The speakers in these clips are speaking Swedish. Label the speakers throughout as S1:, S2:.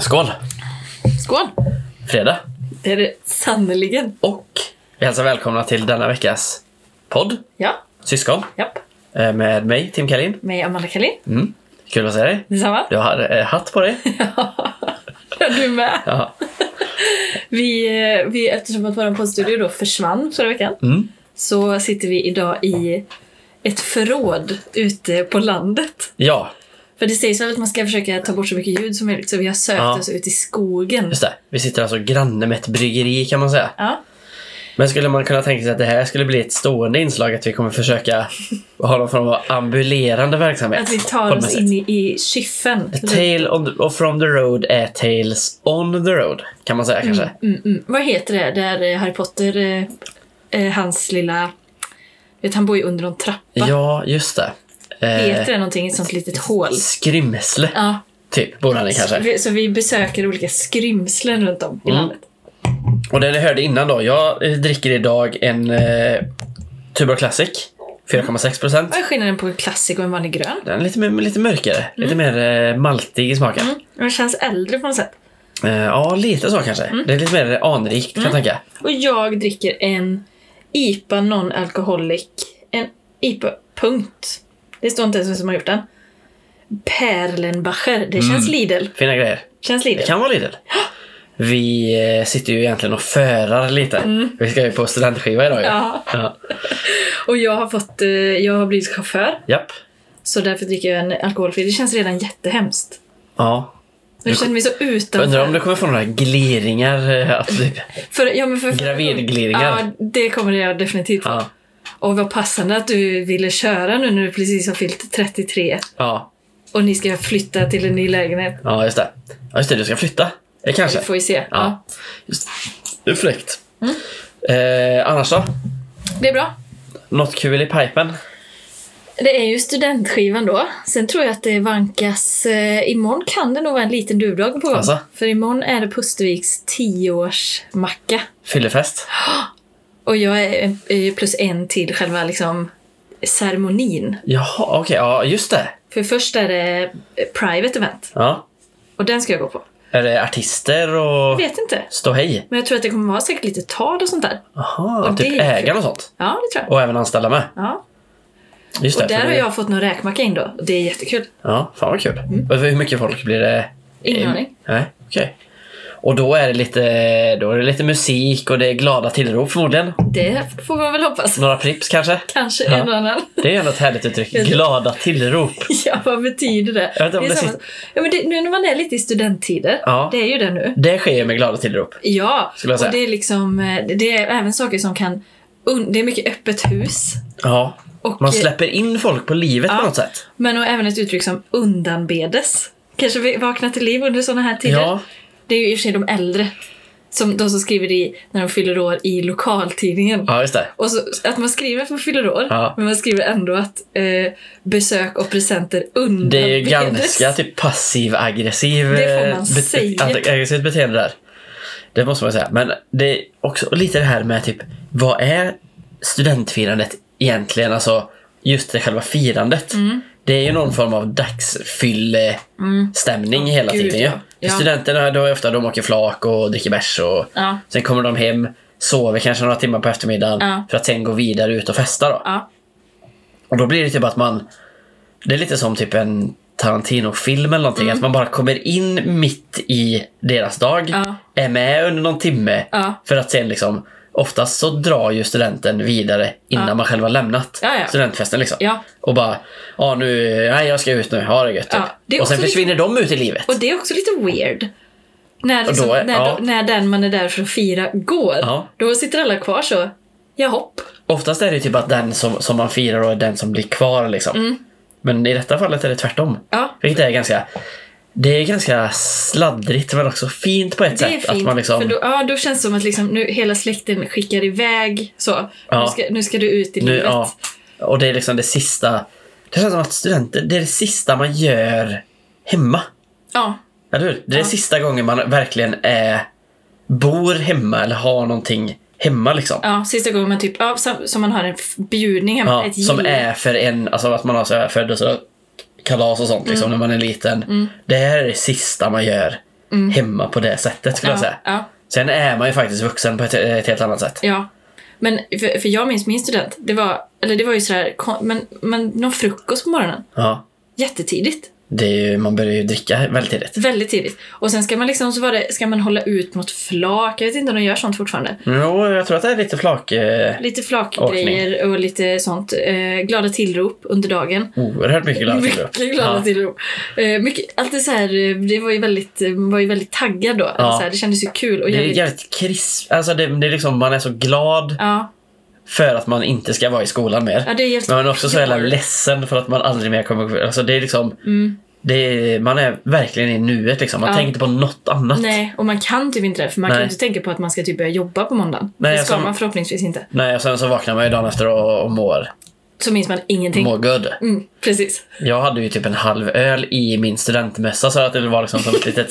S1: Skål!
S2: Skål!
S1: Fredag!
S2: Det är det sannerligen.
S1: Och vi hälsar välkomna till denna veckas podd,
S2: Ja,
S1: Syskon,
S2: japp.
S1: eh, med mig Tim Kalin.
S2: Mig Amanda Kalin.
S1: Mm. Kul att se dig.
S2: Detsamma.
S1: Du har eh, hatt på dig.
S2: Ja, du med.
S1: Ja.
S2: Vi, eh, vi, eftersom att vår poddstudio då försvann förra veckan
S1: Mm.
S2: så sitter vi idag i ett förråd ute på landet.
S1: ja,
S2: För det sägs väl att man ska försöka ta bort så mycket ljud som möjligt så vi har sökt
S1: Ja.
S2: oss ut i skogen.
S1: just det. Vi sitter alltså granne med ett bryggeri kan man säga.
S2: Ja.
S1: Men skulle man kunna tänka sig att det här skulle bli ett stående inslag, att vi kommer försöka ha någon form av ambulerande verksamhet?
S2: Att vi
S1: på
S2: tar
S1: något
S2: oss
S1: sätt.
S2: in i, i kyffen.
S1: A tale on the, och from the road är tales on the road, kan man säga kanske.
S2: Mm, mm. Vad heter det där eh, Harry Potter, eh, eh, hans lilla... Vet, han bor ju under någon trappa.
S1: Ja, just det. Eh,
S2: Heter det någonting? Ett sånt litet hål.
S1: Skrymsle,
S2: Ja.
S1: typ, bor han i
S2: Så
S1: kanske.
S2: vi, så vi besöker olika skrymslen runt om i
S1: Mm.
S2: landet.
S1: Och det ni hörde innan då, jag eh, dricker idag en eh, Tuborg Classic, 4,6%.
S2: Vad är skillnaden på en klassik och en vanlig grön?
S1: Den är lite, mer- lite mörkare, lite mer eh, maltig i smaken.
S2: Mm. Den känns äldre på något sätt.
S1: Eh, ja, lite så kanske.
S2: Mm.
S1: Det är lite mer anrikt kan jag tänka.
S2: Och jag dricker en IPA non-alcoholic. En IPA, punkt. Det står inte ens vem som har gjort den. Perlenbacher. Det
S1: Mm.
S2: känns Lidl.
S1: Fina grejer.
S2: Känns
S1: Det
S2: Lidl.
S1: kan vara Lidl. Vi eh, sitter ju egentligen och förar lite. Vi ska ju på studentskiva idag ju.
S2: Mm. Ja.
S1: Ja.
S2: Och jag har, fått, eh, jag har blivit chaufför.
S1: Japp.
S2: Så därför dricker jag en alkoholfri. Det känns redan jättehemskt.
S1: Ja.
S2: Jag känner mig så
S1: Jag undrar om
S2: utanför.
S1: du kommer få några gliringar. eh, att typ,
S2: För, ja, men för,
S1: Gravidglidningar.
S2: Ja, det kommer jag definitivt få.
S1: ja.
S2: Och vad passande att du ville köra nu när du precis har fyllt 33
S1: Ja.
S2: och ni ska flytta till en ny lägenhet.
S1: ja, just det. Ja, just det. Du ska flytta. Det kanske.
S2: Vi får ju se.
S1: Ja.
S2: Ja.
S1: Just. Det är fräckt. Eh, annars då?
S2: Det är bra.
S1: Något kul i pipen?
S2: Det är ju studentskivan då. Sen tror jag att det vankas... Eh, imorgon kan det nog vara en liten duvdag på gång.
S1: Alltså?
S2: För imorgon är det Pusterviks 10-årsmacka.
S1: Fyllefest?
S2: Och jag är, en- är ju plus en till själva liksom ceremonin.
S1: Jaha, okej. Ja, just det.
S2: För först är det eh, private event.
S1: Ja.
S2: Och den ska jag gå på.
S1: Är det artister
S2: Jag
S1: och
S2: vet inte.
S1: ståhej?
S2: Men jag tror att det kommer vara säkert lite tal och sånt där.
S1: Jaha,
S2: Och
S1: typ
S2: det är
S1: ägare och sånt?
S2: Ja, det tror jag.
S1: Och även anställda med?
S2: Ja,
S1: Just
S2: Och
S1: det,
S2: där
S1: för
S2: har
S1: det-
S2: jag fått någon räkmacka in då. Och det är jättekul.
S1: Ja, fan vad kul. Och hur mycket folk blir det?
S2: Mm. Ingen
S1: Eh,
S2: aning.
S1: Nej, okej. Och då är, det lite, då är det lite musik och det är glada tillrop förmodligen.
S2: Det får man väl hoppas.
S1: Några prips kanske?
S2: Kanske
S1: Ja.
S2: en och annan.
S1: Det är ju ändå ett härligt uttryck.
S2: Jag tror-
S1: Glada tillrop.
S2: Ja, vad betyder det?
S1: Jag vet inte om
S2: det är
S1: det
S2: samma-
S1: sit-
S2: ja, men det, nu när man är lite i studenttider,
S1: Ja.
S2: det är ju det nu.
S1: Det sker ju med glada tillrop.
S2: Ja,
S1: Skulle jag säga.
S2: och det är liksom, eh, det är även saker som kan, un- det är mycket öppet hus.
S1: Ja.
S2: Och,
S1: Man släpper in folk på livet
S2: Ja.
S1: på något sätt.
S2: Men och även ett uttryck som undanbedes. Kanske vi vaknar till liv under sådana här tider.
S1: Ja.
S2: Det är ju i och för sig de äldre. Som de som skriver i, när de fyller år i lokaltidningen.
S1: Ja, just det.
S2: Och så, att man skriver att man fyller år,
S1: Ja.
S2: men man skriver ändå att eh, besök och presenter undanbedes.
S1: Det är ju ganska typ passiv-aggressiv
S2: Det får
S1: eh,
S2: man
S1: bet-
S2: säga.
S1: ag- aggressivt beteende där. Det måste man säga. Men det är också lite det här med typ, vad är studentfirandet egentligen? Alltså just det själva firandet.
S2: Mm.
S1: Det är ju någon form av dagsfyllestämning hela
S2: Gud,
S1: tiden ju.
S2: Mm. ja.
S1: För
S2: Ja.
S1: Studenterna då är ofta, de åker flak och dricker bärs och
S2: Ja.
S1: sen kommer de hem, sover kanske några timmar på eftermiddagen
S2: Ja.
S1: för att sen gå vidare ut och festa då.
S2: Ja,
S1: Och då blir det typ att man... Det är lite som typ en Tarantino-film eller någonting.
S2: Mm.
S1: Att man bara kommer in mitt i deras dag.
S2: Ja.
S1: Är med under någon timme.
S2: Ja.
S1: För att sen liksom... Oftast så drar ju studenten vidare innan man själv har lämnat
S2: Ja, ja.
S1: studentfesten. Liksom.
S2: Ja.
S1: Och bara, ja nu, nej jag ska ut nu, ha det gött.
S2: Ja,
S1: typ.
S2: det är
S1: och sen
S2: också liksom- lite-
S1: försvinner de ut i livet.
S2: och det är också lite weird. När, liksom,
S1: då är-
S2: när,
S1: ja.
S2: de, när den man är där för att fira går,
S1: Ja.
S2: då sitter alla kvar så. Ja, hopp.
S1: Oftast är det ju typ att den som, som man firar och är den som blir kvar liksom. Men i detta fallet är det tvärtom.
S2: Mm. Ja.
S1: Vilket är ganska Det är ganska sladdrigt men också fint på ett
S2: Det
S1: sätt.
S2: är fint.
S1: att man liksom,
S2: för då, ja, då känns det som att liksom, nu, hela släkten skickar iväg så.
S1: Ja.
S2: Nu, ska, nu ska du ut i
S1: nu,
S2: livet.
S1: ja, och det är liksom det sista. Det känns som att studenter, det är det sista man gör hemma.
S2: ja.
S1: Eller hur? Det är det sista gången man verkligen är, bor hemma eller har någonting hemma liksom.
S2: Ja, sista gången man typ, ja, som, som man har en f- bjudning hemma,
S1: Ja,
S2: ett
S1: som
S2: gill.
S1: är för en, alltså att man har så här född och så kalas och sånt
S2: Mm.
S1: liksom, när man är liten. Det här är det sista man gör hemma på det sättet skulle jag
S2: Mm. ja,
S1: säga.
S2: ja,
S1: Sen är man ju faktiskt vuxen på ett, ett helt annat sätt.
S2: ja. Men för, för jag minns min student, det var, eller det var ju sådär, kon- men, men någon frukost på morgonen.
S1: Ja.
S2: Jättetidigt.
S1: Det är ju, man börjar ju dricka väldigt tidigt.
S2: Väldigt tidigt. Och sen ska man liksom, så var det, ska man hålla ut mot flak. Jag vet inte om de gör sånt fortfarande.
S1: Jo, jag tror att det är lite flak... Eh,
S2: Lite flakgrejer och lite sånt. Eh, glada tillrop under dagen.
S1: oerhört mycket glada till
S2: Mycket glada tillrop. Eh, mycket, alltid så här, eh, det var ju väldigt, eh, man var ju väldigt taggad då. Eller Så här, det kändes ju kul. Och
S1: Det är
S2: jävligt,
S1: jävligt krisp. Alltså det, det är liksom, man är så glad
S2: ja,
S1: för att man inte ska vara i skolan mer.
S2: ja, det är jävligt
S1: Men man är också så
S2: pure.
S1: jävla ledsen för att man aldrig mer kommer... Alltså det är liksom... Det är, man är verkligen i nuet liksom. Man
S2: Ja.
S1: tänker inte på något annat.
S2: Nej, och man kan typ inte det. För man kan
S1: Nej.
S2: ju inte tänka på att man ska typ börja jobba på måndagen.
S1: Nej,
S2: det ska
S1: alltså-
S2: man förhoppningsvis inte.
S1: Nej, och sen så vaknar man ju dagen efter och, och mår,
S2: Så minns man ingenting.
S1: mår good.
S2: Mm, precis.
S1: Jag hade ju typ en halv öl i min studentmössa så att det var liksom som ett litet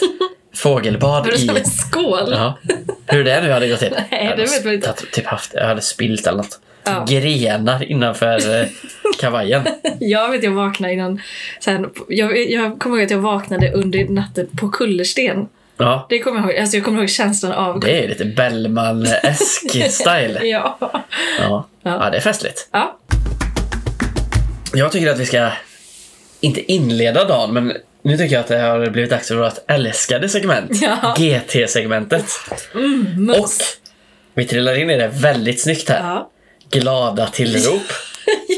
S1: fågelbad
S2: Var det
S1: i...
S2: som en skål?
S1: Ja. Hur det nu hade gått till. jag hade
S2: det vet man inte.
S1: Jag, typ haft, jag hade spilt eller något.
S2: Ja.
S1: Grenar innanför eh, kavajen.
S2: Jag vet jag vaknade innan... Sen, jag, jag kommer ihåg att jag vaknade under natten på kullersten.
S1: Ja.
S2: Det kommer jag ihåg. Alltså jag kommer ihåg känslan av...
S1: Det är ju lite Bellman-esk-style.
S2: Ja.
S1: Ja. ja, det är festligt.
S2: ja.
S1: Jag tycker att vi ska, inte inleda dagen, men nu tycker jag att det har blivit dags för vårt älskade segment.
S2: Ja.
S1: GT-segmentet. Och
S2: Mums.
S1: vi trillar in i det väldigt snyggt här.
S2: Ja.
S1: Glada tillrop.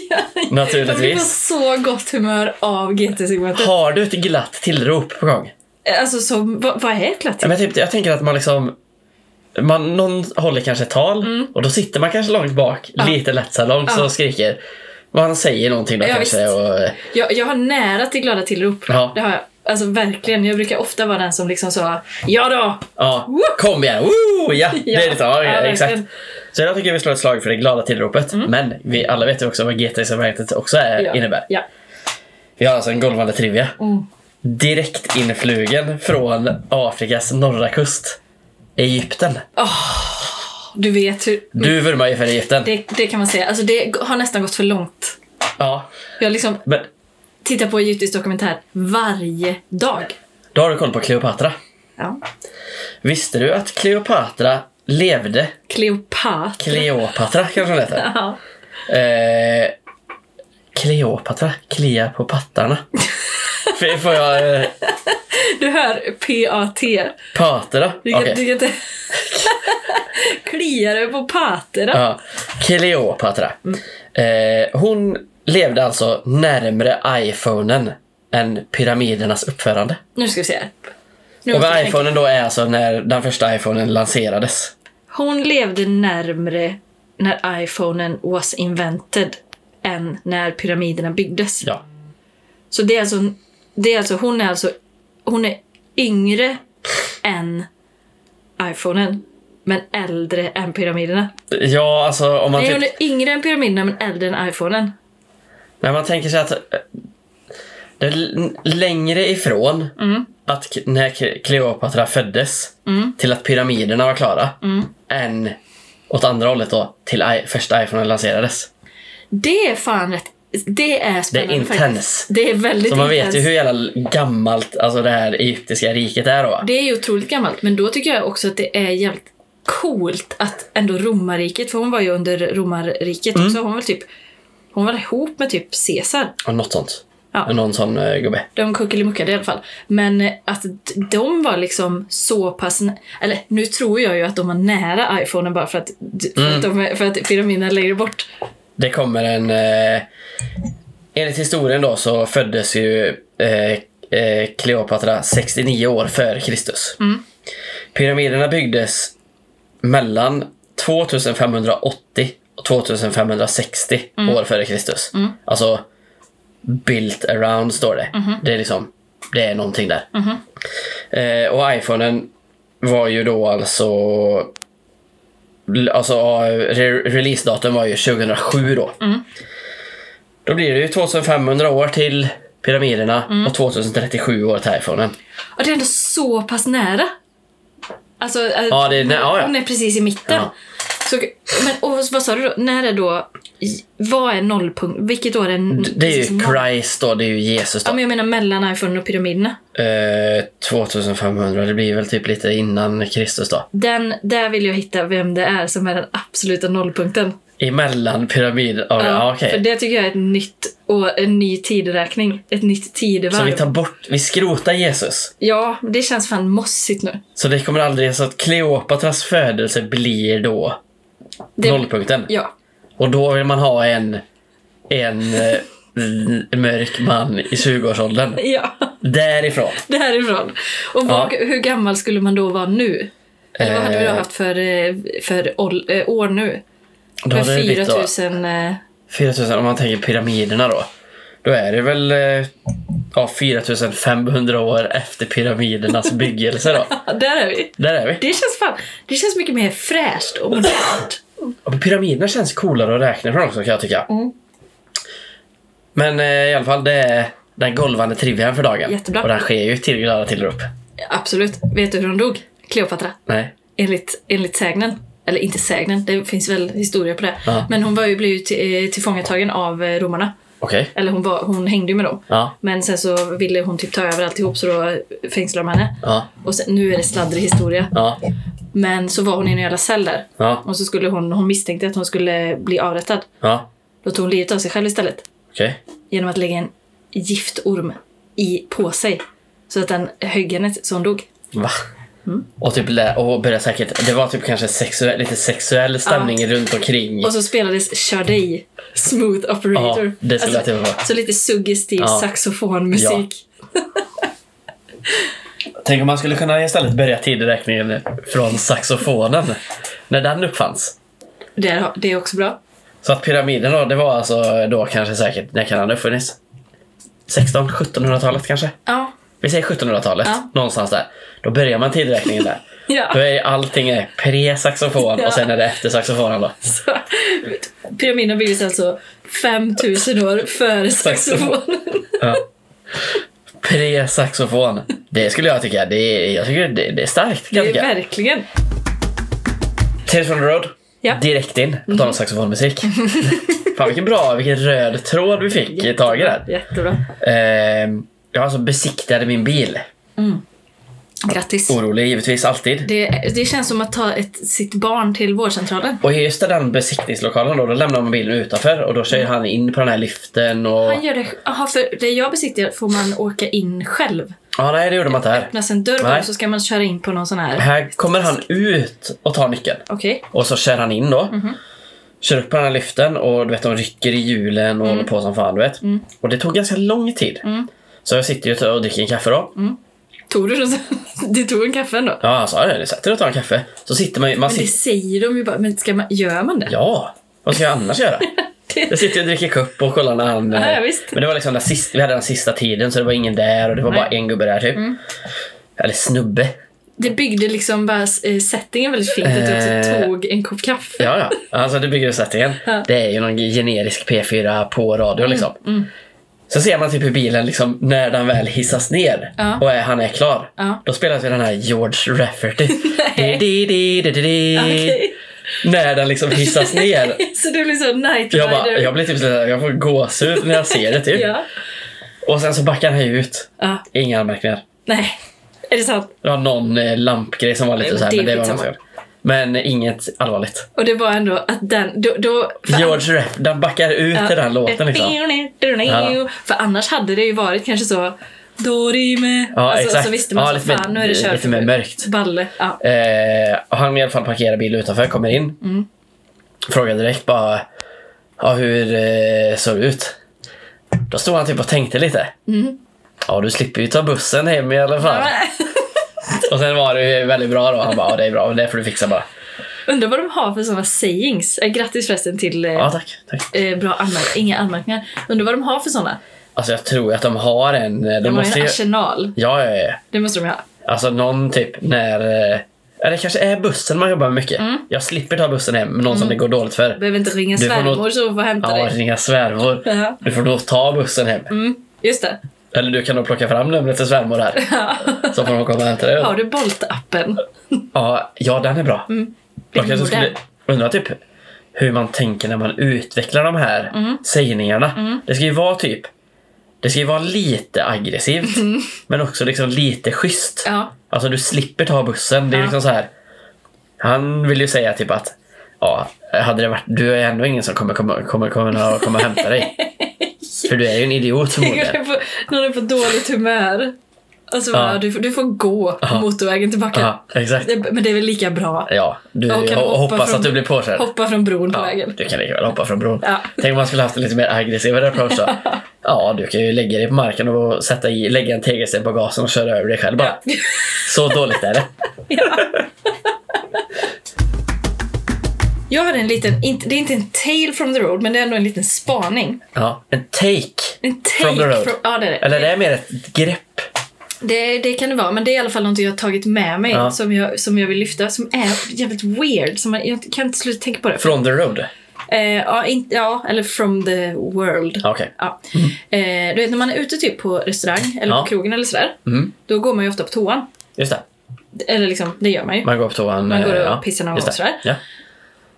S2: Jag blir på
S1: Naturligtvis.
S2: så gott humör av GT-segmentet.
S1: Har du ett glatt tillrop på gång?
S2: Alltså, så, vad, vad är glatt
S1: Ja, men typ, jag tänker att man liksom man, någon håller kanske ett tal och då sitter man kanske långt bak, lite lätt så här långt, så
S2: Mm. Ja.
S1: skriker. Och han säger någonting då
S2: Ja,
S1: kanske.
S2: visst.
S1: Och, eh,
S2: Jag, jag har nära till glada tillrop.
S1: Ja.
S2: Det har jag. Alltså verkligen. Jag brukar ofta vara den som liksom så, ja då!
S1: ja,
S2: Woo!
S1: kom igen, woo! Ja, det är det. Ja,
S2: Ja,
S1: exakt.
S2: verkligen. Mm.
S1: Så jag tycker vi slår ett slag för det glada tillropet. Men vi alla vet ju också vad GT-samarbetet också är,
S2: Ja.
S1: innebär.
S2: Ja.
S1: Vi har alltså en golvande trivia.
S2: Mm.
S1: Direkt influgen från Afrikas norra kust. Egypten.
S2: Du vet hur...
S1: Du vurmar ju för Egypten.
S2: Det, det kan man säga. Alltså det har nästan gått för långt.
S1: Ja,
S2: Jag liksom
S1: men
S2: tittar på egyptisk dokumentär varje dag.
S1: då har du koll på Kleopatra.
S2: Ja.
S1: Visste du att Kleopatra levde?
S2: Kleopatra.
S1: Kleopatra kanske hon heter.
S2: ja.
S1: Eh, Kleopatra, klia på pattarna. F- Får jag... Eh,
S2: Du hör PAT.
S1: patera?
S2: Du kan,
S1: Okej.
S2: du kan inte... Kliar dig på paterna.
S1: Ja. Kleopatra.
S2: Mm.
S1: Eh, hon levde alltså närmre iPhonen än pyramidernas uppförande.
S2: Nu ska vi se här. Nu
S1: Och
S2: måste jag
S1: vad
S2: tänka.
S1: iPhonen då är alltså när den första iPhonen lanserades.
S2: Hon levde närmre när iPhonen was invented än när pyramiderna byggdes.
S1: Ja.
S2: Så det är alltså, det är alltså, hon är alltså, hon är yngre än iPhonen, men äldre än pyramiderna.
S1: Ja, alltså om man,
S2: Nej,
S1: typ,
S2: hon är yngre än pyramiderna, men äldre än iPhonen.
S1: när man tänker sig att eh, det är l- längre ifrån
S2: Mm.
S1: att k- när K- Kleopatra föddes till att pyramiderna var klara
S2: Mm.
S1: än åt andra hållet då till i- första iPhonen lanserades.
S2: Det är fan rätt, det är
S1: Det är
S2: spännande faktiskt.
S1: intens.
S2: Det är väldigt
S1: Så man vet
S2: intens.
S1: ju hur jävla gammalt alltså det här egyptiska riket är då. va?
S2: Det är ju otroligt gammalt, men då tycker jag också att det är jävligt coolt att ändå romarriket, för hon var ju under romarriket
S1: Mm.
S2: också, hon var typ hon var ihop med typ Caesar.
S1: Och Något sånt.
S2: Ja.
S1: Någon sån eh, gubbe.
S2: De kuckelimuckade i alla fall. Men eh, att d- de var liksom så pass... nä- Eller nu tror jag ju att de var nära iPhonen bara för att, d- för att,
S1: Mm.
S2: de, är- för att pyramiderna är längre bort.
S1: Det kommer en... Eh, enligt historien då så föddes ju eh, eh, Kleopatra 69 år före Kristus. Pyramiderna byggdes mellan 2580 och 2560 år före Kristus. Alltså, built around står det. Det är liksom, det är någonting där. Eh, och iPhonen var ju då alltså Alltså ja, re- releasedatum var ju 2007 då.
S2: Mm.
S1: Då blir det ju 2500 år till pyramiderna
S2: Mm.
S1: och 2037 år till iPhonen.
S2: Och det är ändå så pass nära. Alltså, eh,
S1: Ja, det är nä- ja, ja.
S2: hon är precis i mitten.
S1: Ja.
S2: Så, men, och vad sa du då? När är då... Vad är nollpunkt? Vilket år är... n-
S1: Det är ju
S2: precis noll?
S1: Christ då, det är ju Jesus
S2: Ja,
S1: då.
S2: men jag menar mellan iPhone och pyramiderna.
S1: Eh, 2500, det blir väl typ lite innan Kristus då.
S2: Den, där vill jag hitta vem det är som är den absoluta nollpunkten.
S1: Emellan pyramid... Ja, ja, okej.
S2: För det tycker jag är ett nytt och en ny tideräkning. Ett nytt tidevarv.
S1: Så vi tar bort, vi skrotar Jesus.
S2: Ja, det känns fan mossigt nu.
S1: Så det kommer aldrig, så att Kleopatras födelse blir då
S2: Det,
S1: nollpunkten.
S2: Ja.
S1: Och då vill man ha en, en eh, n- mörk man i 20-årsåldern.
S2: Ja,
S1: Därifrån.
S2: därifrån. Och vad, hur gammal skulle man då vara nu? Eller vad hade vi då
S1: Eh.
S2: haft för, eh, för ål- eh, år nu?
S1: Då hade
S2: Med
S1: det blivit då
S2: 4000... eh,
S1: 4000, om man tänker pyramiderna då. Då är det väl eh, ja, 4500 år efter pyramidernas byggelse då.
S2: Ja, där är vi.
S1: Där är vi.
S2: Det känns fan... Det känns mycket mer fräscht och modernt.
S1: Och pyramiderna känns coolare att räkna från också kan jag tycka.
S2: Mm.
S1: Men eh, i alla fall, det är den golvande trivian för dagen.
S2: Jättebra.
S1: Och den sker ju till glada tillrop.
S2: Absolut. Vet du hur hon dog? Kleopatra.
S1: Nej.
S2: enligt, enligt sägnen. Eller inte sägnen, det finns väl historia på det.
S1: Ja.
S2: Men hon var ju blivit till- eh, tillfångatagen av eh, romarna.
S1: Okej.
S2: Eller hon, var, hon hängde ju med dem.
S1: Ja.
S2: Men sen så ville hon typ ta över alltihop så då fängslade de henne.
S1: Ja.
S2: Och sen, nu är det sladdrig historia.
S1: Ja.
S2: Men så var hon i en jävla cell där.
S1: Ja.
S2: Och så skulle hon, hon misstänkte att hon skulle bli avrättad.
S1: Ja.
S2: Då tog hon livet av sig själv istället.
S1: Okej.
S2: Genom att lägga en giftorm i, på sig. Så att den högg henne så hon dog.
S1: Va? Och typ lä- och började säkert, det var typ kanske sexuell, lite sexuell stämning runt omkring.
S2: Och så spelades Sade Smooth Operator. Alltså,
S1: Ja, det skulle jag tippa på.
S2: Så lite suggestiv
S1: Ja.
S2: saxofonmusik.
S1: Tänk om man skulle kunna istället börja tideräkningen från saxofonen. när den uppfanns.
S2: Det, är, det är också bra.
S1: Så att pyramiden då, det var alltså då kanske säkert, när kan den ha uppfunnits? 16, 1700-talet kanske?
S2: Ja.
S1: Vi säger 1700-talet,
S2: Ja.
S1: någonstans där. Då börjar man tideräkningen där. Då
S2: ja.
S1: är allting är pre-saxofon
S2: Ja.
S1: och sen är det efter saxofonen då.
S2: Så, pyramiden byggdes alltså 5000 år före saxofonen.
S1: Ja. Pre-saxofon. Det skulle jag tycka. Det är, jag tycker det, det är starkt. Kan jag
S2: Det är
S1: tycka.
S2: verkligen.
S1: Tales from the road.
S2: Ja.
S1: Direkt in. På tal om saxofonmusik. Fan vilken bra, vilken röd tråd vi fick i taget där.
S2: Jättebra.
S1: Ehm, jag alltså besiktade min bil.
S2: Grattis.
S1: Orolig givetvis, alltid.
S2: Det, det känns som att ta ett, sitt barn till vårdcentralen.
S1: Och i just den besiktningslokalen då, då lämnar man bilen utanför och då kör han in på den här lyften och...
S2: Mm. Han gör det, aha, för det jag besiktigar får man åka in själv.
S1: Ja, nej det gjorde man inte här.
S2: Öppnas en dörr
S1: Nej. Äh.
S2: och så ska man köra in på någon sån här.
S1: Här kommer han ut och tar nyckeln.
S2: Okej.
S1: Och så kör han in då.
S2: Mhm.
S1: Kör upp på den här lyften och du vet de rycker i hjulen och
S2: Mm.
S1: håller på som fan du vet. Och det tog ganska lång tid. Så jag sitter ju och dricker en kaffe då.
S2: Mm. Tog du den? Du tog en kaffe ändå?
S1: Ja, han sa det. Du sätter dig och tar en kaffe. Så sitter man ju... Man
S2: Men det
S1: sitter,
S2: säger de ju bara, men ska man, gör man det?
S1: ja, vad ska jag annars göra? Jag
S2: Det-
S1: sitter och dricker kupp och kollar när han...
S2: Ja,
S1: eh,
S2: ja, visst.
S1: Men det var liksom den sista, vi hade den sista tiden så det var ingen där och det var
S2: Nej. Mm.
S1: bara en gubbe där typ. Eller snubbe.
S2: Det byggde liksom bara eh, settingen väldigt fint att du också
S1: Eh.
S2: tog en kopp kaffe.
S1: Ja, ja. Alltså det bygger sättningen.
S2: Ja. Mm,
S1: Det är ju någon generisk P4 på radio liksom. Så ser man typ hur bilen liksom, när den väl hissas ner
S2: Ja.
S1: och är, han är klar.
S2: Ja.
S1: Då spelas ju den här George Rafferty.
S2: Nej.
S1: Di, di, di, di, di.
S2: Okej.
S1: Mm, När den liksom hissas ner.
S2: Så det blir så night rider.
S1: Jag, bara, jag blir typ såhär, jag får gåshud när jag ser det typ.
S2: ja.
S1: Och sen så backar han ju ut.
S2: ja.
S1: Inga anmärkningar.
S2: Nej. Är det sant?
S1: Det var någon eh, lampgrej som var lite
S2: Nej,
S1: såhär,
S2: det är
S1: men det var
S2: skitsamma.
S1: ganska- Men inget allvarligt.
S2: Och det var ändå att den... Då, då, för-
S1: George Raff, den backar ut i den låten liksom. Ja.
S2: För annars hade det ju varit kanske så... Dorime.
S1: Ja, exakt.
S2: Alltså, Så visste man
S1: Ja,
S2: så,
S1: lite mer-
S2: fan nu är det
S1: lite
S2: kört.
S1: mer mörkt.
S2: Balle. Ja.
S1: Eh, och han i alla fall parkerar bilen utanför, kommer in.
S2: Mm.
S1: Frågar direkt bara, ja, hur eh, såg det ut? Då stod han typ och tänkte lite.
S2: Mm.
S1: Ja, du slipper ju ta bussen hem i alla fall. Och sen var det ju väldigt bra då. Han bara, ja det är bra, men det får du fixa bara.
S2: Undrar vad de har för sådana sayings. Eh, Grattis förresten till eh,
S1: Ja, tack. tack.
S2: eh, bra anmärk inga anmärkningar. Undrar vad de har för sådana.
S1: Alltså jag tror att de har en...
S2: De
S1: eh, De,
S2: har ju
S1: måste
S2: en
S1: ju...
S2: arsenal.
S1: Ja, ja, ja.
S2: Det måste de ju ha.
S1: Alltså någon typ när... eh, Eller det kanske är bussen man jobbar med mycket. Jag slipper ta bussen hem med någon som det går dåligt för.
S2: Mm. Behöver inte ringa
S1: Du får
S2: svärmor
S1: nog-
S2: så får hämta
S1: Ja,
S2: dig.
S1: ringa svärmor.
S2: Ja.
S1: Du får då ta bussen hem.
S2: Mm, just det.
S1: Eller du kan då plocka fram numret till svärmor här. Så får de komma och hämta dig.
S2: Har du Bolt-appen?
S1: Ja, ja, den är bra. Jag
S2: Modern.
S1: kanske skulle, Undrar typ hur man tänker när man utvecklar de här
S2: Mm.
S1: sägningarna. Det ska ju vara typ det ska ju vara lite aggressivt, men också liksom lite schysst.
S2: Mm. Ja.
S1: Alltså du slipper ta bussen. Det är
S2: Ja.
S1: liksom så här. Han vill ju säga typ att ja, hade det varit, du är ändå ingen som kommer komma, kommer, kommer, komma och hämta dig. För du är ju en idiot
S2: Tänk
S1: förmodligen.
S2: om du är på, när du är på dåligt humör. Alltså,
S1: Ja.
S2: bara, du, får- du får gå på motorvägen tillbaka.
S1: Ja, exakt.
S2: Det, men det är väl lika bra.
S1: Ja, du
S2: Och kan
S1: ho-
S2: hoppa
S1: hoppas
S2: från-
S1: att du blir påkörd.
S2: Hoppa från bron på
S1: Ja,
S2: vägen.
S1: du kan lika väl hoppa från bron.
S2: Ja.
S1: Tänk om man skulle haft en lite mer aggressivare approach då. Ja, du kan ju lägga dig på marken och sätta i, lägga en tegelsten på gasen och köra över dig själv bara.
S2: Ja.
S1: Så dåligt är det.
S2: Jag hade en liten, inte, det är inte en tale from the road, men det är ändå en liten spaning.
S1: Ja, en take.
S2: En take
S1: From the road.
S2: From, ja, det, är det.
S1: Eller det är mer ett grepp.
S2: Det, det kan det vara, men det är i alla fall något jag har tagit med mig
S1: Ja.
S2: som, jag, som jag vill lyfta, som är jävligt weird. Som man, jag kan inte sluta tänka på det.
S1: From the road.
S2: Eh, ja, in, ja, eller from the world.
S1: Ja, Okej.
S2: Ja. Eh, du vet när man är ute typ på restaurang eller
S1: Ja.
S2: på krogen eller sådär.
S1: Mm.
S2: Då går man ju ofta på toan.
S1: Just det.
S2: Eller liksom, det gör man ju.
S1: Man går på toan.
S2: Man går och
S1: eh, ja,
S2: pissar någon
S1: just
S2: gång
S1: det.
S2: sådär.
S1: Ja.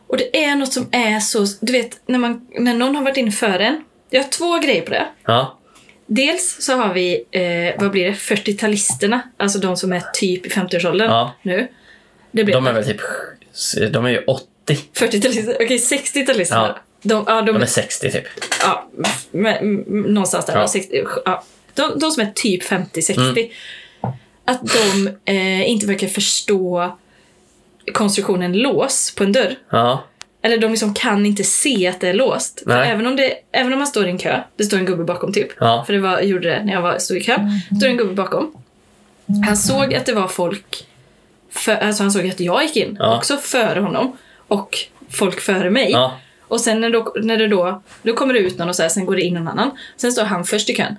S2: Och det är något som är så, du vet när, man, när någon har varit inne före en. Jag har två grejer på det.
S1: Ja.
S2: Dels så har vi, eh, vad blir det, 40-talisterna. Alltså de som är typ i 50-årsåldern
S1: Ja.
S2: nu. Det blir
S1: De är väl typ... De är ju 80.
S2: 40-talister, okej 60-talisterna.
S1: Ja.
S2: De, ja, de,
S1: De är 60 typ.
S2: ja, med, med, någonstans där.
S1: Ja. Mm.
S2: 60, ja. De, de som är typ 50-60. Att de eh, inte verkar förstå konstruktionen lås på en dörr.
S1: Ja.
S2: Eller de liksom kan inte se att det är låst. För
S1: Nej.
S2: även om, det, även om man står i en kö, det står en gubbe bakom typ.
S1: Ja.
S2: För det var, gjorde det när jag var, stod i kö. Stod en gubbe bakom. Han såg att det var folk, för, alltså han såg att jag gick in
S1: Ja.
S2: också före honom. Och folk före mig.
S1: Ja.
S2: Och sen när, då, när det då, då kommer det ut någon och så här, sen går det in någon annan. Sen står han först i kön.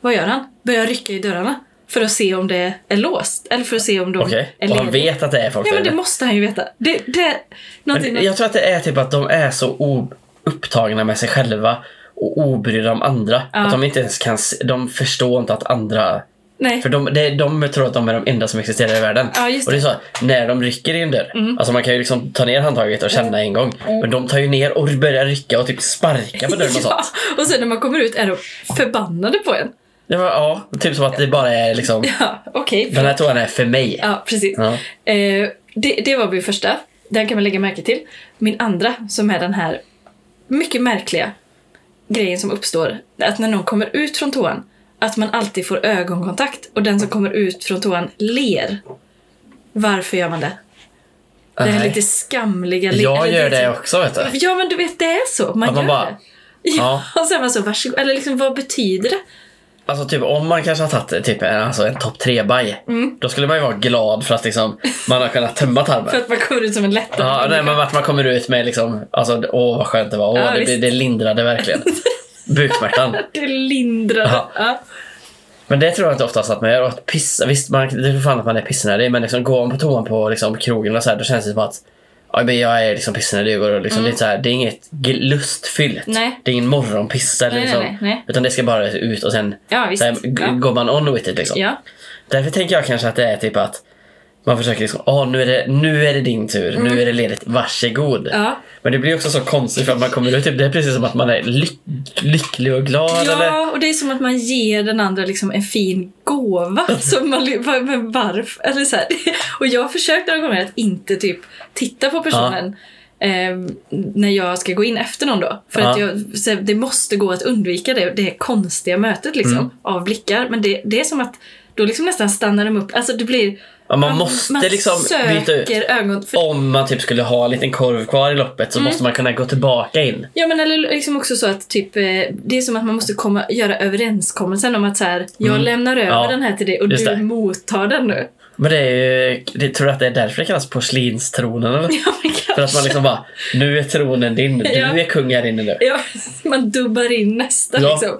S2: Vad gör han? Börjar rycka i dörrarna. För att se om det är låst. Eller för att se om de
S1: Okej.
S2: är
S1: Och han
S2: lediga.
S1: vet att det är folk
S2: Ja men
S1: där
S2: det
S1: inne.
S2: måste han ju veta. Det, det, någonting,
S1: Men jag tror att det är typ att de är så o- upptagna med sig själva och obrydda om andra. Att de inte ens kan... se- De förstår inte att andra...
S2: nej.
S1: För de, det- de tror att de är de enda som existerar i världen.
S2: Ja, just Mm.
S1: och det är så, när de rycker i en dörr. Alltså man kan ju liksom ta ner handtaget och känna en gång. Men de tar ju ner och börjar rycka och typ sparka på dörren och sånt.
S2: Ja, och sen när man kommer ut är de förbannade på en.
S1: Det var, ja, typ som att det bara är liksom...
S2: Ja, okej.
S1: Den här toan är för mig.
S2: Ja, precis.
S1: Ja.
S2: Eh, det, det var min första. Den kan man lägga märke till. Min andra, som är den här mycket märkliga grejen som uppstår, att när någon kommer ut från toan, att man alltid får ögonkontakt och den som kommer ut från toan ler. Varför gör man det? Det här
S1: Nej.
S2: lite skamliga le-
S1: jag
S2: eller
S1: gör
S2: är
S1: det
S2: så-
S1: också vet du.
S2: Ja, men du vet, det är så. Man
S1: Att man
S2: gör
S1: bara-
S2: det. Ja, och sen var så, varsågod. Eller liksom, vad betyder det?
S1: Alltså typ om man kanske har tagit typ en, alltså, en topp 3 baj
S2: Mm.
S1: Då skulle man ju vara glad för att liksom, man har kunnat tömma tarmen.
S2: För att man kommer ut som en lättare
S1: Ja, nej, men att man kommer ut med liksom, alltså åh vad skönt det var. Åh,
S2: Ja,
S1: det, det,
S2: visst.
S1: det lindrade verkligen. Buksmärtan.
S2: Det lindrar.
S1: Ja.
S2: Ja.
S1: Men det tror jag inte oftast att man gör. Och att pissa, visst, man, det är för fan att man är pissnödig, men liksom, går man på toan på liksom, krogen och så här, då känns det som att ja, men jag är liksom pissnödig. Och liksom, det, är så här, det är inget gl- lustfyllt.
S2: Mm. Nej.
S1: Det är ingen morgonpissa. Eller,
S2: Nej,
S1: liksom,
S2: nej, nej.
S1: Utan det ska bara ut och sen
S2: Ja, visst.
S1: så här, g-
S2: Ja.
S1: går man on with it. Liksom.
S2: Ja.
S1: Därför tänker jag kanske att det är typ att man försöker liksom, åh nu är det, nu är det din tur, nu är det ledigt, varsågod.
S2: Mm. Ja.
S1: Men det blir också så konstigt för att man kommer ut, typ, det är precis som att man är lyck, lycklig och glad. Eller?
S2: ja, och det är som att man ger den andra liksom en fin gåva. som man, li- va- men varför? Eller så här. Och jag har försökt några gånger att inte typ titta på personen. Eh, när jag ska gå in efter någon då. För
S1: Ja.
S2: att jag, så här, det måste gå att undvika det, det konstiga mötet liksom,
S1: Mm.
S2: av blickar. Men det, det är som att då liksom nästan stannar de upp. Alltså det blir...
S1: Ja, man måste
S2: man
S1: liksom
S2: söker
S1: byta ut.
S2: ögon. För
S1: om man typ skulle ha en liten korv kvar i loppet så
S2: Mm.
S1: måste man kunna gå tillbaka in.
S2: Ja men eller liksom också så att typ, eh, det är som att man måste komma, göra överenskommelsen om att så här, jag lämnar över
S1: Mm. Ja,
S2: den här till dig och
S1: just
S2: du
S1: det.
S2: mottar den nu.
S1: Men det är ju, det, tror du att det är därför det kallas porslinstronen eller?
S2: Ja men kanske.
S1: För att man liksom bara, nu är tronen din, du
S2: Ja.
S1: är kung här inne nu.
S2: Ja, man dubbar in nästa
S1: Ja.
S2: liksom.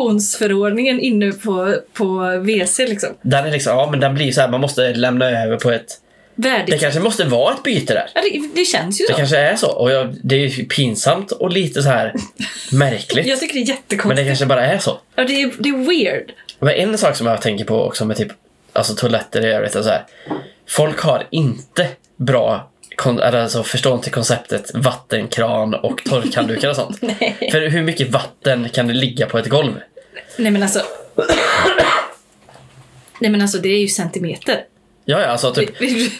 S2: Successionsförordningen inne på, på WC liksom.
S1: Den är liksom, ja men den blir ju så här, man måste lämna över på ett, det
S2: Värdigt.
S1: kanske måste vara ett byte där.
S2: Ja, det, det känns ju
S1: Det
S2: så.
S1: kanske är så. Och jag, det är ju pinsamt och lite så här märkligt.
S2: Jag tycker det är
S1: Men det
S2: jättekonstigt.
S1: kanske bara är så.
S2: Ja, det, är, det är weird.
S1: Men en sak som jag tänker på också med typ alltså toaletter i övrigt är så här. Folk har inte bra kon- eller alltså förstår inte konceptet vattenkran och torkhanddukar och sånt.
S2: Nej.
S1: För hur mycket vatten kan det ligga på ett golv?
S2: Nej men alltså. Nej men alltså det är ju centimeter.
S1: Ja, ja, alltså typ,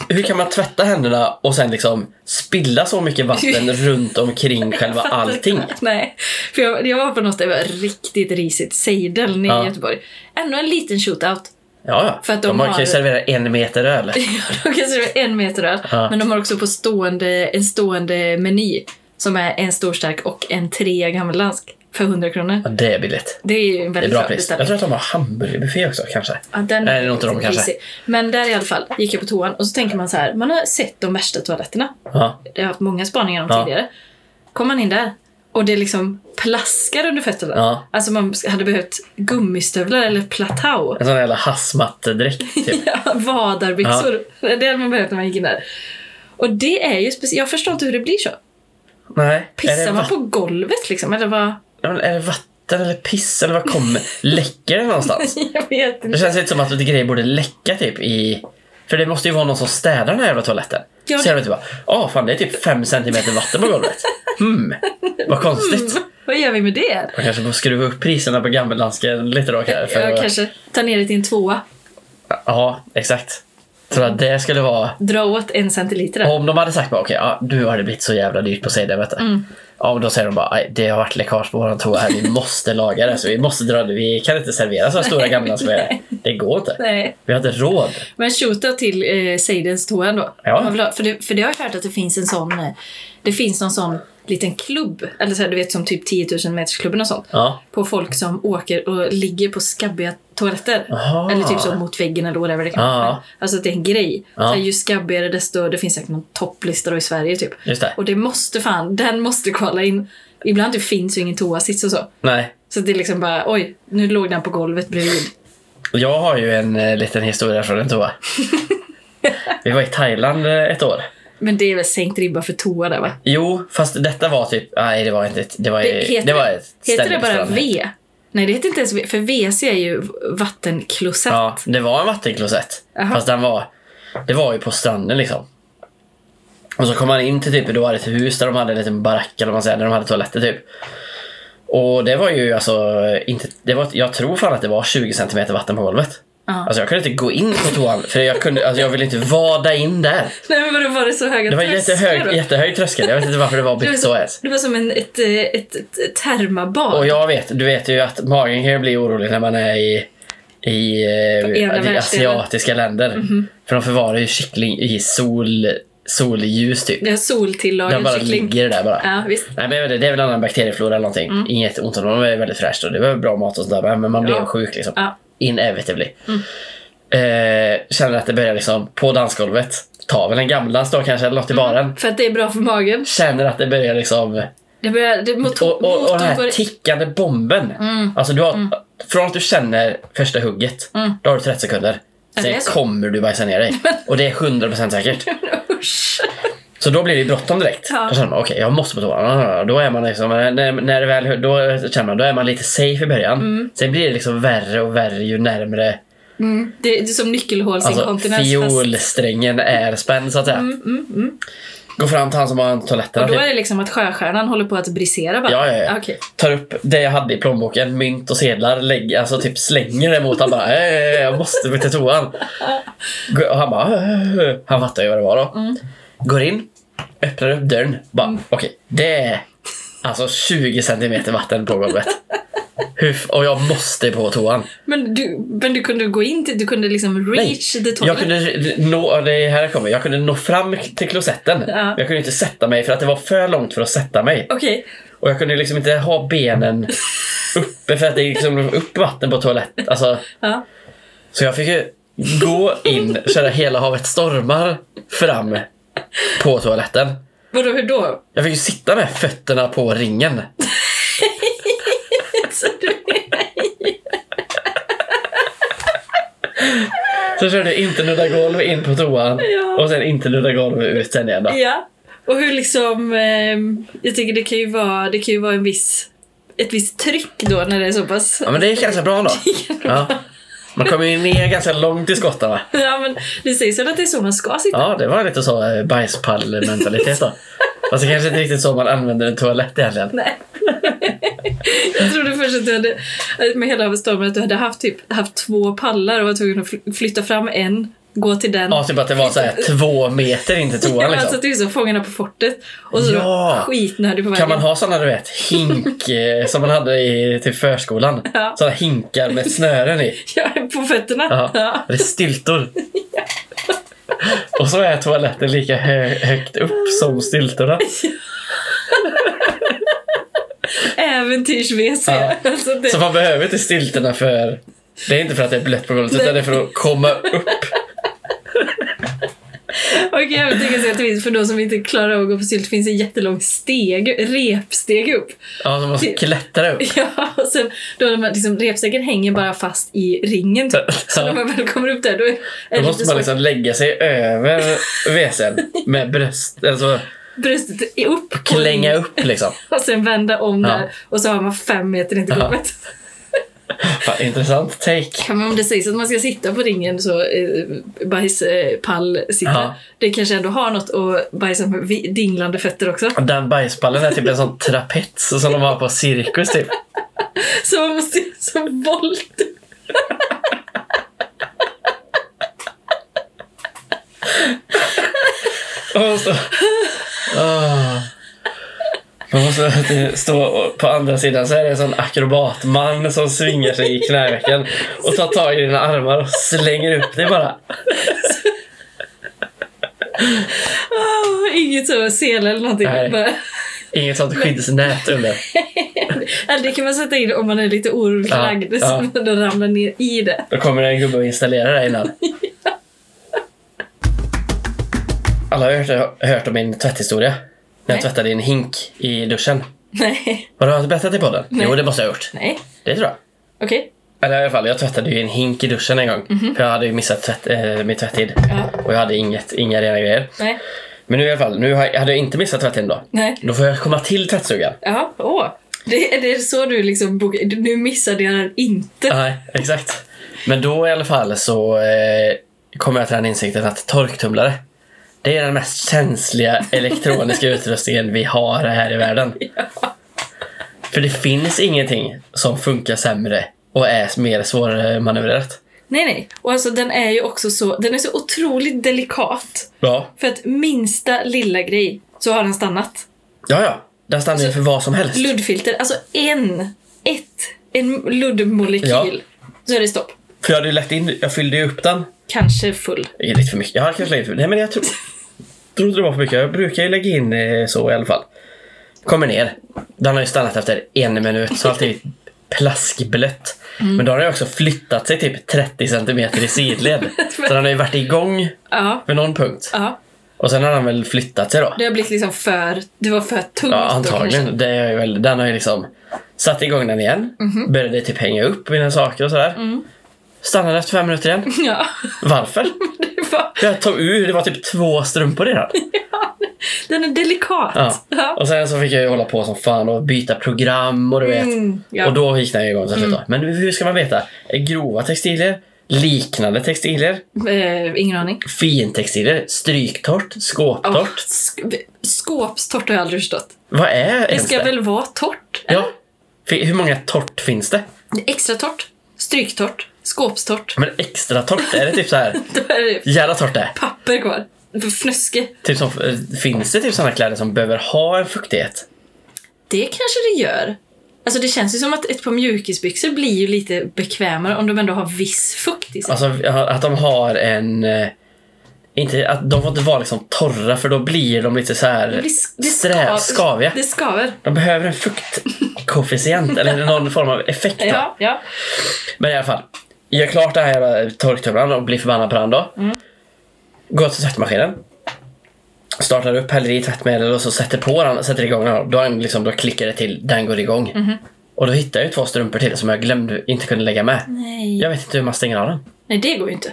S1: hur kan man tvätta händerna och sen liksom spilla så mycket vatten runt omkring själva
S2: fattar
S1: allting?
S2: knappt, Nej. För jag, jag var på något där det var riktigt risigt. Seideln i
S1: Ja.
S2: Göteborg. Ändå en liten shootout.
S1: Ja, ja.
S2: För att de
S1: de,
S2: har-
S1: kan ju servera en meter öl.
S2: De kanske det var en meter öl.
S1: Ja.
S2: Men de har också på stående, en stående meny. Som är en storstark och en trea gammeldansk. För 100 kronor.
S1: Ja, det är billigt.
S2: Det är ju en
S1: Det är
S2: väldigt
S1: bra
S2: bra
S1: pris.
S2: Liksom,
S1: Jag
S2: beställning.
S1: tror att de har hamburgerbuffé också kanske.
S2: Ja, den
S1: Nej, det är nog inte de,
S2: prisig.
S1: kanske.
S2: Men där i alla fall gick jag på toan och så tänker man så här. Man har sett de värsta toaletterna.
S1: Ja,
S2: Det har jag haft många spaningar om
S1: Ja.
S2: tidigare. Kom man in där och det liksom plaskar under fötterna.
S1: Ja.
S2: Alltså man hade behövt gummistövlar eller platå.
S1: en sån jävla hazmat-dräkt typ.
S2: Ja, Vadarbyxor. Det hade man behövt när man gick in där. Och det är ju speciellt. Jag förstår inte hur det blir så.
S1: Nej. är det
S2: Pissar man
S1: vatten?
S2: på golvet liksom? Eller vad?
S1: Ja, men Är det vatten eller piss eller vad kommer? Läcker det någonstans?
S2: Jag vet
S1: Det
S2: inte.
S1: känns lite som att lite grejer borde läcka typ i... För det måste ju vara någon som städar den här jävla toaletten.
S2: Ja,
S1: Så
S2: det-
S1: jag vet bara, åh fan det är typ fem centimeter vatten på golvet. Hmm, vad konstigt.
S2: Vad gör vi med det?
S1: Man kanske får skruva upp priserna på gammeldansken lite då kanske.
S2: Jag kanske tar ner det till en tvåa.
S1: Ja, exakt. Tror att det skulle vara...
S2: Dra åt en centiliter.
S1: Om de hade sagt bara okej, ja, nu har det blivit så jävla dyrt på CD, vet du.
S2: Mm.
S1: Ja, men då säger de bara, "Aj, det har varit läckage på våran toa här, vi måste laga det. Så vi måste dra det, vi kan inte servera så här stora gammeldanskar. Det går inte.
S2: Nej.
S1: Vi har inte råd.
S2: Men shootout till eh, Seidens toa ändå.
S1: Ja.
S2: Om man vill ha- För, det, för det har jag hört att det finns en sån, eh, det finns någon sån liten klubb, eller så här, du vet som typ 10 000 metersklubben och sånt.
S1: Ja.
S2: På folk som åker och ligger på skabbiga toaletter.
S1: Aha.
S2: Eller typ så mot väggen eller whatever det kan
S1: Ja.
S2: vara. Men, Alltså att det är en grej.
S1: Ja.
S2: Så här, ju skabbigare desto, det finns säkert någon topplista då i Sverige typ.
S1: Just det.
S2: Och det måste fan, den måste kolla in. Ibland det finns ju ingen toasits och så.
S1: Nej.
S2: Så det är liksom bara, oj, nu låg den på golvet bredvid.
S1: Jag har ju en eh, liten historia från en toa. Vi var i Thailand eh, ett år.
S2: Men det är väl sänkt ribba för toa där va?
S1: Jo, fast detta var typ... Nej, det var inte ett... Det var,
S2: Det,
S1: det
S2: heter,
S1: Eh, det var ett
S2: heter
S1: ställe
S2: det
S1: på
S2: bara
S1: stranden.
S2: V? Nej, det heter inte ens V, för WC är ju vattenklosett.
S1: Ja, det var en vattenklosett.
S2: Jaha.
S1: Fast den var... Det var ju på stranden liksom. Och så kom man in till typ, då var det ett hus där de hade en liten barack eller vad man säger, där de hade toaletter typ. Och det var ju alltså inte... Det var, jag tror fan att det var 20 centimeter vatten på golvet.
S2: Ja.
S1: Alltså jag kunde inte gå in på toan för jag kunde, alltså jag ville inte vada in där.
S2: Nej, men vadå, var det så höga
S1: Det var
S2: trösklar då?
S1: jättehög, jättehög tröskel. Jag vet inte varför det var
S2: Det var
S1: byggt så
S2: som,
S1: ens.
S2: det var som en, ett, eh, ett, ett, ett termabad.
S1: Och jag vet, du vet ju att magen kan ju bli orolig när man är i, i, eh,
S2: På ena
S1: i
S2: världsdelen. Mhm.
S1: asiatiska länder. För de förvarar ju kyckling i sol, solljus typ.
S2: Det är soltillagad
S1: Den bara
S2: kyckling.
S1: ligger där bara.
S2: Ja, visst. Mm.
S1: Nej, men jag vet inte, det är väl en annan bakterieflora eller någonting. Inget ont om dem, de är väldigt fräscht och det var bra mat och sådär. Men man blir
S2: Ja.
S1: ju sjuk liksom.
S2: Ja. Mm.
S1: Inevitably. Eh, känner att det börjar liksom på dansgolvet. Ta väl en gammeldans då kanske, eller något i
S2: Mm.
S1: baren.
S2: För att det är bra för magen.
S1: Känner att det börjar liksom
S2: Det börjar, det, mot,
S1: och, och, och den här
S2: börjar-
S1: tickande bomben.
S2: Mm.
S1: Alltså du har, Från att du känner första hugget, då har du 30 sekunder.
S2: Ja, det
S1: Sen
S2: Mm. är så.
S1: kommer du bajsa ner dig. Och det är 100% säkert.
S2: Usch.
S1: Så då blir det ju bråttom direkt.
S2: Ja.
S1: Då känner man, okej jag måste på toan. Då är man liksom, när, när det väl, då känner man, då är man lite safe i början.
S2: Mm.
S1: Sen blir det liksom värre och värre ju närmre
S2: Det, det är som
S1: Alltså
S2: nyckelhålsinkontinens. fast-
S1: fiolsträngen är spänd så att säga. Gå fram till han som har toaletten.
S2: Mm, Och då är det liksom att sjöstjärnan håller på att brisera bara.
S1: Ja, ja, ja.
S2: Okej.
S1: Tar upp det jag hade i plånboken, mynt och sedlar, lägger, alltså typ slänger det mot honom. Bara, "Eh, jag måste till toan. Gå- Och han bara, "Eh." han fattar ju vad det var då. Går in, öppnar upp dörren. Bara, okej, det är alltså 20 centimeter vatten på golvet. Hur f- Och jag måste på toan.
S2: Men, du, men du kunde gå in till, du kunde liksom reach the toilet.
S1: Jag kunde nå, det här kommer, jag kunde nå fram till klosetten.
S2: Ja.
S1: Jag kunde inte sätta mig för att det var för långt för att sätta mig.
S2: Okej.
S1: Och jag kunde liksom inte ha benen uppe för att det är liksom upp vatten på toaletten. Alltså,
S2: Ja.
S1: så jag fick ju gå in, köra hela havet stormar fram på toaletten.
S2: Vadå, hur då?
S1: Jag fick ju sitta med fötterna på ringen.
S2: Så du-
S1: Så körde jag inte nudda golv in på toan
S2: Ja.
S1: och sen inte nudda golv ut sen igen. Då.
S2: ja. Och hur liksom, ehm, jag tänker det kan ju vara, det kan ju vara en viss, ett visst tryck då när det är så pass.
S1: Ja men det gick ganska bra då. Ja. Man kommer ju ner ganska långt i skottarna.
S2: Ja, men det sägs ju att det är så man ska sitta.
S1: Ja, det var lite så eh, bajspall-mentalitet då. Fast det kanske inte riktigt så man använder en toalett egentligen.
S2: Nej. jag trodde först att du hade, med hela stormen, att du hade haft, typ, haft två pallar och var tvungen att fly- flytta fram en, gå till den.
S1: Ja, typ att det var så här två meter in till toan
S2: Alltså
S1: liksom.
S2: att du är som Fångarna på fortet och så
S1: Ja.
S2: skitnödig på vägen.
S1: Kan man ha såna du vet, hink eh, som man hade i till förskolan?
S2: Ja.
S1: Såna hinkar med snören i.
S2: Ja, på fötterna.
S1: Ja,
S2: Ja.
S1: det är styltor. Och så är toaletten lika hö- högt upp som styltorna.
S2: Äventyrs-WC.
S1: Ja.
S2: Alltså det,
S1: Så man behöver inte styltorna för... Det är inte för att det är blött på golvet, utan det är för att komma upp.
S2: och jag vill tänka sig att det finns, för de som inte klarar av att gå på sylt, finns en jättelång steg, repsteg upp.
S1: Ja, så man
S2: Typ.
S1: ska klättra upp.
S2: Ja, och sen då de här, liksom, repstegen hänger bara fast i ringen typ. Så när man väl kommer upp där då är är
S1: Då
S2: det
S1: måste
S2: lite
S1: man
S2: så
S1: liksom lägga sig över WC'n med bröst, alltså
S2: bröstet är upp och
S1: klänga
S2: in.
S1: upp liksom.
S2: Och sen vända om
S1: Ja.
S2: där och så har man fem meter in till
S1: Ja.
S2: golvet.
S1: Fan, intressant take.
S2: Ja, men om det sägs att man ska sitta på ringen så eh, bajspall sitta.
S1: Ja.
S2: Det kanske ändå har något att bajsa med vi- dinglande fötter också.
S1: Den bajspallen är typ en sån trapets som de har på cirkus typ.
S2: Så man måste göra som volt.
S1: Man måste, Ah. man måste stå och- på andra sidan så är det en sån akrobatman som svingar sig i knävecken och tar tag i dina armar och slänger upp dig bara.
S2: Ah, inget så sele eller någonting.
S1: Nej.
S2: Bara,
S1: Inget sånt skyddsnät under.
S2: eller det kan man sätta in om man är lite oroligt
S1: Ja,
S2: lagd. Så
S1: ja.
S2: man då ramlar ner i det.
S1: Då kommer en gubbe och installerar det innan. Alla har hört, hört om min tvätthistoria. När jag
S2: Nej.
S1: tvättade i en hink i duschen.
S2: Nej.
S1: Har du inte berättat det i podden?
S2: Nej.
S1: Jo, det måste jag ha gjort.
S2: Nej.
S1: Det tror jag.
S2: Okej.
S1: Eller i alla fall, jag tvättade ju i en hink i duschen en gång. För jag hade ju missat tvätt, eh, min tvättid.
S2: Mhm. Ja.
S1: Och jag hade inget, inga rena grejer.
S2: Nej.
S1: Men nu i alla fall, nu har jag, hade jag inte missat tvättiden då.
S2: Nej.
S1: Då får jag komma till tvättstugan.
S2: Ja. Åh. Det, det är så du liksom bokar. Nu missade jag den inte.
S1: Nej, exakt. Men då i alla fall så eh, kom jag till den insikten att torktumlare, det är den mest känsliga elektroniska utrustningen vi har här i världen. För det finns ingenting som funkar sämre och är mer svårmanövrerat.
S2: Nej, nej. Och alltså den är ju också så, den är så otroligt delikat.
S1: Ja.
S2: För att minsta lilla grej så har den stannat.
S1: Ja, ja. Den stannar ju för vad som helst.
S2: Luddfilter, alltså en, ett, en luddmolekyl.
S1: Ja.
S2: Så är det stopp.
S1: För jag hade ju lagt in, jag fyllde ju upp den.
S2: Kanske full.
S1: Det är lite för mycket. Jag har kanske lagt in, nej men jag tror, trodde det var för mycket. Jag brukar ju lägga in eh, så i alla fall. Kommer ner. Den har ju stannat efter en minut så allt är plaskblött.
S2: Mm.
S1: Men då har den ju också flyttat sig typ 30 centimeter i sidled. så den har ju varit igång
S2: Ja.
S1: vid någon punkt.
S2: Ja.
S1: Och sen har den väl flyttat sig då.
S2: Det har blivit liksom för, det var för tungt.
S1: Ja,
S2: Då, kanske.
S1: antagligen. Det är ju väl, den har ju liksom satt igång den igen.
S2: Mhm.
S1: Började typ hänga upp mina saker och sådär.
S2: Mm.
S1: Stannade efter fem minuter igen.
S2: ja.
S1: Varför?
S2: Det var,
S1: Jag tog ur, det var typ två strumpor i den.
S2: den är delikat.
S1: Ja.
S2: Ja.
S1: Och sen så fick jag ju hålla på som fan och byta program och du vet.
S2: Mm, ja. Mm.
S1: Och då gick den ju igång till slut. då. Men hur ska man veta? Grova textilier? Liknande textilier?
S2: Eh, ingen aning.
S1: Fintextilier? Stryktort? Skåptort?
S2: Oh, sk- skåpstort har jag aldrig förstått.
S1: Vad är
S2: Det
S1: ens
S2: ska
S1: det?
S2: väl vara torrt?
S1: Ja. Fi- Hur många tort finns det?
S2: Extra torrt, stryktort, skåpstort.
S1: Men extra tort? Är det typ så här?
S2: Då är det
S1: Jävla torrt det är.
S2: papper kvar. Fnöske.
S1: Typ som, eh, finns det typ sådana kläder som behöver ha en fuktighet?
S2: Det kanske det gör. Alltså det känns ju som att ett par mjukisbyxor blir ju lite bekvämare om de ändå har viss fukt i sig.
S1: Alltså att de har en... eh, Inte, att de får inte vara liksom torra för då blir de lite så
S2: Det
S1: här
S2: blir sk- det
S1: strä,
S2: skav-
S1: skaviga.
S2: Det skaver.
S1: De behöver en fuktkoefficient eller någon form av effekt. då.
S2: Ja, ja.
S1: Men i alla fall. Gör klart den här jävla torktumlaren och blir förbannad på den då.
S2: Mm.
S1: Går till tvättmaskinen. Startar upp, häller i tvättmedel och så sätter på den, sätter igång den. Då, har den liksom, då klickar det till, den går igång.
S2: Mhm.
S1: Och då hittar jag ju två strumpor till som jag glömde, inte kunde lägga med.
S2: Nej.
S1: Jag vet inte hur man stänger av den.
S2: Nej, det går ju inte.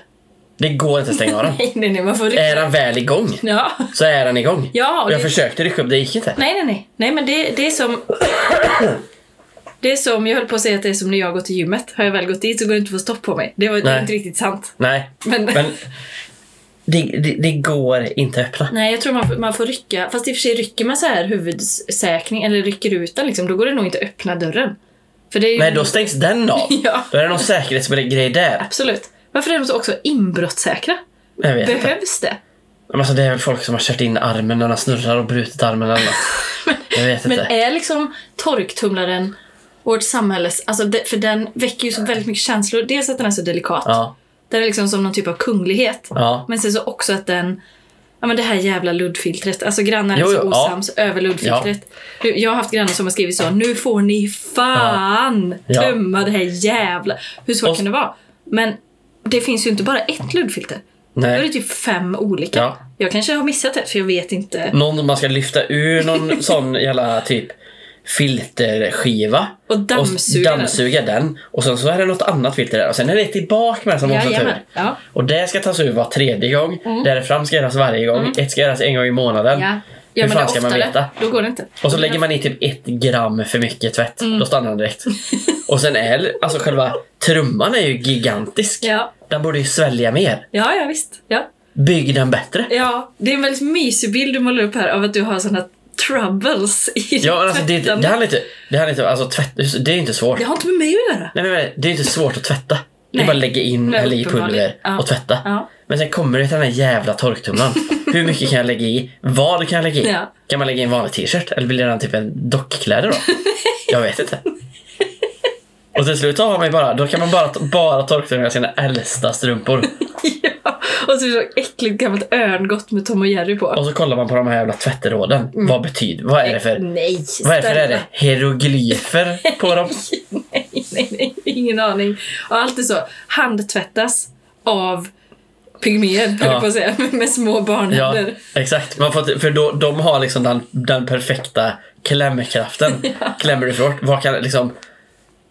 S1: Det går inte att stänga av den.
S2: Nej, nej, nej, man får
S1: Är den väl igång
S2: Ja.
S1: så är den igång.
S2: Ja, och
S1: jag
S2: det-
S1: försökte rycka upp, det gick inte.
S2: Nej, nej, nej. Nej, men det, det är som... Det är som, jag höll på att säga att det är som när jag går till gymmet. Har jag väl gått dit så går det inte att få stopp på mig. Det var det är
S1: Nej.
S2: inte riktigt sant.
S1: Nej,
S2: Men,
S1: men det, det, det går inte att öppna.
S2: Nej, jag tror man, får- man får rycka. Fast i och för sig rycker man så här huvudsäkring eller rycker ut den liksom, då går det nog inte att öppna dörren. För det är ju...
S1: Nej, då stängs den av.
S2: Ja,
S1: Då är det någon säkerhetsgrej där.
S2: absolut. Varför är de så också inbrottssäkra?
S1: Jag vet inte.
S2: Behövs det?
S1: Men Alltså, det är väl folk som har kört in armen när de snurrar och brutit armen eller något. Jag vet
S2: Men
S1: inte.
S2: är liksom torktumlaren vårt samhälles... Alltså det, för den väcker ju så väldigt mycket känslor. Dels att den är så delikat.
S1: Ja,
S2: Den är liksom som någon typ av kunglighet.
S1: ja.
S2: Men sen så också att den... Ja men det här jävla luddfiltret. Alltså grannar
S1: Jo,
S2: är så
S1: jo, ja.
S2: osams över luddfiltret. Du, Jag har haft grannar som har skrivit så. Nu får ni fan
S1: Ja.
S2: tömma det här jävla... Hur svårt
S1: Och-
S2: kan det vara? Men det finns ju inte bara ett luddfilter. Då är det
S1: Nej.
S2: typ fem olika.
S1: Ja. Mm.
S2: Jag kanske har missat det för jag vet inte.
S1: Någon man ska lyfta ur någon sån jävla typ filterskiva.
S2: Och dammsuga
S1: och typ.
S2: den.
S1: dammsuga den. Och sen så är det något annat filter där. Och sen är det tillbaka med som måste
S2: Jajamän.
S1: tur.
S2: Ja.
S1: Och det ska tas ur var tredje gång. Där fram ska göras varje gång. Ett ska göras en gång i månaden.
S2: Mm. Ja.
S1: Hur
S2: Gör man
S1: fan
S2: det
S1: ska man
S2: oftare,
S1: veta?
S2: Då går det inte.
S1: Och så lägger man i typ ett gram för mycket tvätt.
S2: Mm.
S1: Då stannar den direkt. Och sen är alltså själva trumman är ju gigantisk.
S2: Ja,
S1: Den borde ju svälja mer.
S2: ja, ja visst. Ja.
S1: Bygg den bättre.
S2: ja, det är en väldigt mysig bild du målar upp här av att du har sådana troubles i ditt
S1: Ja, men alltså, det,
S2: tvättande.
S1: det handlar inte... Det handlar inte... Alltså tvätt... Det är inte svårt.
S2: Det har inte med mig att göra.
S1: Nej, men, men det är inte svårt att tvätta. Det är
S2: Nej.
S1: bara att lägga in,
S2: Nej,
S1: hälla i pulver
S2: uppenbarligen. Ja.
S1: och tvätta.
S2: Ja.
S1: Men sen kommer det till den här jävla torktumlaren. Hur mycket kan jag lägga i? Vad kan jag lägga i?
S2: Ja.
S1: Kan man lägga i en vanlig t-shirt? Eller blir det den typ en dockkläder då? jag vet inte. Och till slut så har man ju bara, då kan man bara, bara torktumla sina äldsta strumpor.
S2: ja. Och så är det så äckligt gammalt örngott med Tom och Jerry på.
S1: Och så kollar man på de här jävla tvätteråden. Vad betyder, vad är det för,
S2: Nej,
S1: vad är det för
S2: snälla.
S1: är det? hieroglyfer på dem?
S2: Nej, nej, nej, ingen aning. Och allt är så. Handtvättas av pygméer, höll
S1: Ja.
S2: jag på att säga, med, med små
S1: Ja,
S2: barnhänder.
S1: exakt. Man får, för då, de har liksom den, den perfekta klämkraften. Klämmer du för hårt, vad kan liksom...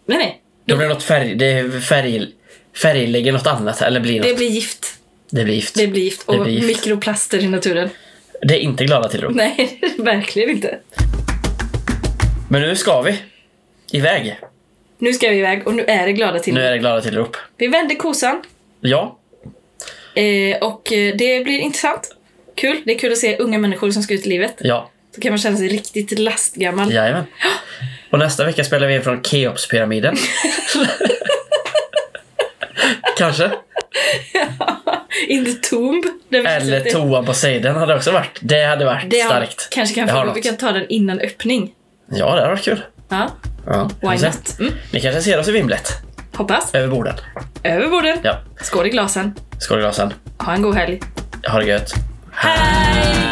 S2: Nej, nej.
S1: Det blir något färg... Det är färg färglägger något annat eller blir något.
S2: Det blir gift.
S1: Det blir gift.
S2: Det blir gift och
S1: Det blir gift.
S2: mikroplaster i naturen.
S1: Det är inte glada tillrop.
S2: Nej, verkligen inte.
S1: Men nu ska vi iväg.
S2: Nu ska vi iväg och nu är det glada till.
S1: Nu är det glada tillrop.
S2: Vi vänder kosan
S1: Ja,
S2: eh, och eh, det blir intressant. Kul. Det är kul att se unga människor som ska ut i livet.
S1: ja,
S2: Då kan man känna sig riktigt lastgammal.
S1: jajamän. Och nästa vecka spelar vi in från Keopspyramiden. Kanske.
S2: In the tomb. där vi
S1: Eller
S2: sitter.
S1: toan på Seiden hade också varit. Det hade varit
S2: Det har-
S1: starkt.
S2: Kanske kan
S1: Det har
S2: vi, vi
S1: något.
S2: kan ta den innan öppning.
S1: Ja, det hade varit kul.
S2: Ja,
S1: Ja,
S2: why
S1: vi får se.
S2: not? Mm.
S1: Ni kanske ser oss i vimlet?
S2: Hoppas.
S1: Över borden.
S2: Över borden.
S1: Ja.
S2: Skål i glasen.
S1: Skål i glasen.
S2: Ha en god helg.
S1: Ha det gött.
S2: Hej!